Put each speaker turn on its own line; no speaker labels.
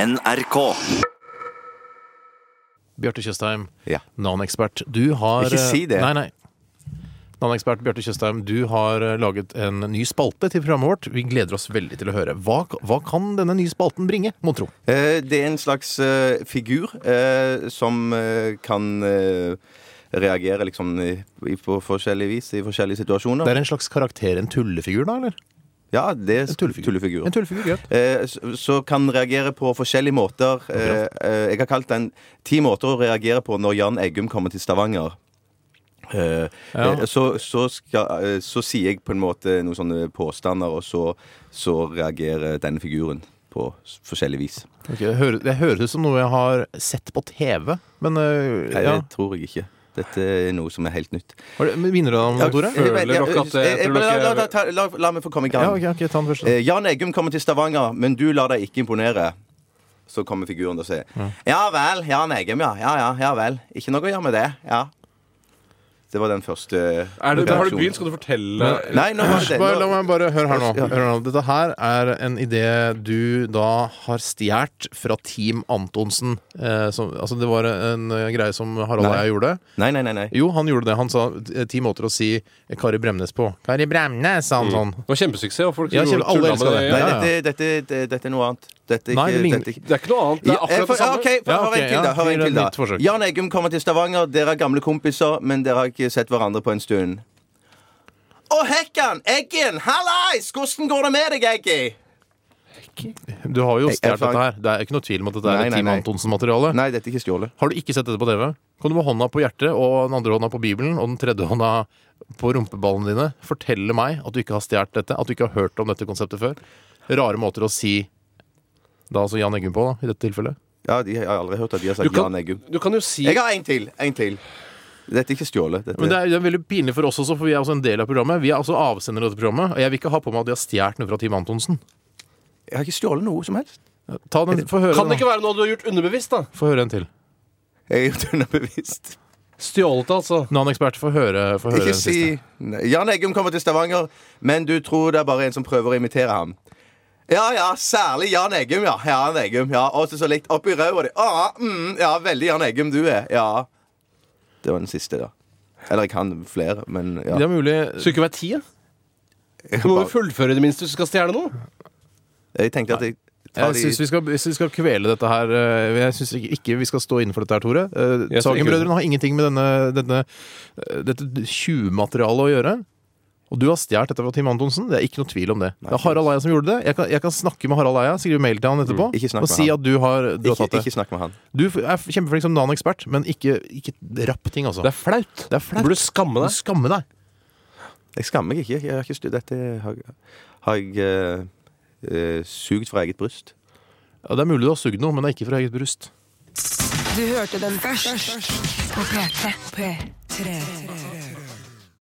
NRK.
Bjarte Tjøstheim,
Ja.
Nan-ekspert. Du har
Ikke si det.
Nei, nei. Nan-ekspert Bjarte Tjøstheim, du har eh, laget en ny spalte til programmet vårt. Vi gleder oss veldig til å høre. Hva, hva kan denne nye spalten bringe, mon tro?
Eh, Det er en slags eh, figur eh, som eh, kan eh, reagere liksom i, i, på forskjellig vis i forskjellige situasjoner.
Det er en slags karakter, en tullefigur, da, eller?
Ja, det er
En tullefigur.
tullefigur.
En tullefigur, greit.
Eh, s- Så kan reagere på forskjellige måter. Eh, eh, Jeg har kalt den ti måter å reagere på når Jan Eggum kommer til Stavanger. Eh,
Ja.
eh, Så, så, skal, eh, så sier jeg på en måte noen sånne påstander, og så, så reagerer denne figuren på s- forskjellig vis.
Ok, det, høres, det høres ut som noe jeg har sett på TV, men, eh,
Nei,
ja.
det tror jeg ikke. Dette er noe som er helt nytt.
Har du- men Vinner du deg om noe, Tore?
Jeg vet-
Føler
jeg-
dere at det-
jeg- jeg-
tror dere-
la- la- ta- la- La meg få komme i gang.
Ja, ok, ok, ta den først.
Eh, Jan Eggum kommer til Stavanger, men du lar deg ikke imponere. Så kommer figuren til å si Ja vel, Jan Eggum, ja. Ja ja, ja vel. Ikke noe å gjøre med det. Ja. Det var den første
Er det, har du
reaksjonen.
begynt? Skal du fortelle
Nei, nå var det det.
Bare, la
Nå-
meg bare høre her nå.
Ja.
Hør her nå. Dette her er en idé du da har stjålet fra Team Antonsen. Eh, som, altså det var en eh, greie som Harald og
Nei.
jeg gjorde.
Nei, nei, nei. nei.
Jo, han gjorde det. Han sa eh, ti måter å si Kari Bremnes på. Kari Bremnes, sa han
Mm.
sånn.
Det var kjempesuksess. Og folk
Ja,
gjorde
kjempe- alle
tulla med
elsker det.
Ja.
Nei,
ja.
dette, dette, dette, dette er noe annet. Dette er
Nei, det
ikke,
ligner-
dette er ikke.
Det er ikke noe annet. Det
Ja,
er akkurat det
for-
samme.
ok, for-
Ja,
hør
ok,
en til,
ja.
da. Hør
Gjør
en
et
til, da.
nytt forsøk.
Jan Eggum kommer til Stavanger. Dere er gamle kompiser, men dere har ikke sett hverandre på en stund. Å, Hekkan! Eggen! Hallais! Hvordan går det med deg, Eggi?
Du har jo
Jeg- jeg fang-
stjålet dette her. Det er ikke noe tvil om at dette er
Nei,
et
nei,
Team
nei.
Antonsen-materiale.
Nei, dette er ikke stjålet.
Har du ikke sett dette på TV, kan du med hånda på hjertet og den andre hånda på Bibelen og den tredje hånda på rumpeballene dine fortelle meg at du ikke har stjålet dette, at du ikke har hørt om dette konseptet før. Rare måter å si da altså Jan Eggum på, da, i dette tilfellet.
Ja, de, Jeg har aldri hørt at de har
Du
sagt Jan
kan,
Eggum.
du kan jo si
Jeg har en til. En til. Dette er ikke stjålet. Dette.
Men det er, det er veldig pinlig for oss også, for vi er også en del av programmet. Vi er også avsender av dette programmet, og jeg vil ikke ha på meg at de har stjålet noe fra Team Antonsen.
Jeg har ikke stjålet noe som helst.
Ta den, Få høre,
Kan
den,
det ikke
da.
være noe du har gjort underbevisst, da?
Få høre en til.
Jeg er gjort underbevisst.
Stjålet det, altså.
Nan-ekspert, få høre, få høre
Ikke
den
si
siste.
Nei, Jan Eggum kommer til Stavanger, men du tror det er bare en som prøver å imitere ham. Ja, ja, særlig Jan Eggum, ja. Jan Eggum, ja. Også så likt oppi ræva di. Ah, mm, ja, veldig Jan Eggum du er. Ja. Det var den siste, da. Eller jeg kan flere, men ja.
Det er mulig
Skulle ikke være ti, ja? Du må jo fullføre i det minste hvis du skal stjele noe.
Jeg tenkte at jeg tar
Jeg
de
syns vi, skal- jeg synes vi skal kvele dette her. eh, Jeg syns ikke, ikke vi skal stå innenfor dette her, Tore. Eh,
Jeg står ikke
Sagen-brødrene har ingenting med denne, denne, eh, dette tjuvmaterialet å gjøre. Og du har stjålet dette fra Tim Antonsen. Det er ikke noe tvil om det. Det er Harald Eia som gjorde det. Jeg kan, jeg kan snakke med Harald Eia, skrive mail til han
Mm,
etterpå,
Ikke snakk
og
med
si
han.
at du har, du har
ikke,
tatt det.
ikke snakk med han.
Du er kjempeflink som Nan-ekspert, men ikke, ikke rapp ting, altså.
Det er flaut.
Det er flaut.
Du burde skamme
Du
deg.
skammer deg.
Jeg skammer meg ikke. Jeg har ikke stu... Dette har, har jeg eh, eh, sugd fra eget bryst.
Ja, det er mulig du har sugd noe, men det er ikke fra eget bryst.
Du hørte den først, først. på P3. P3.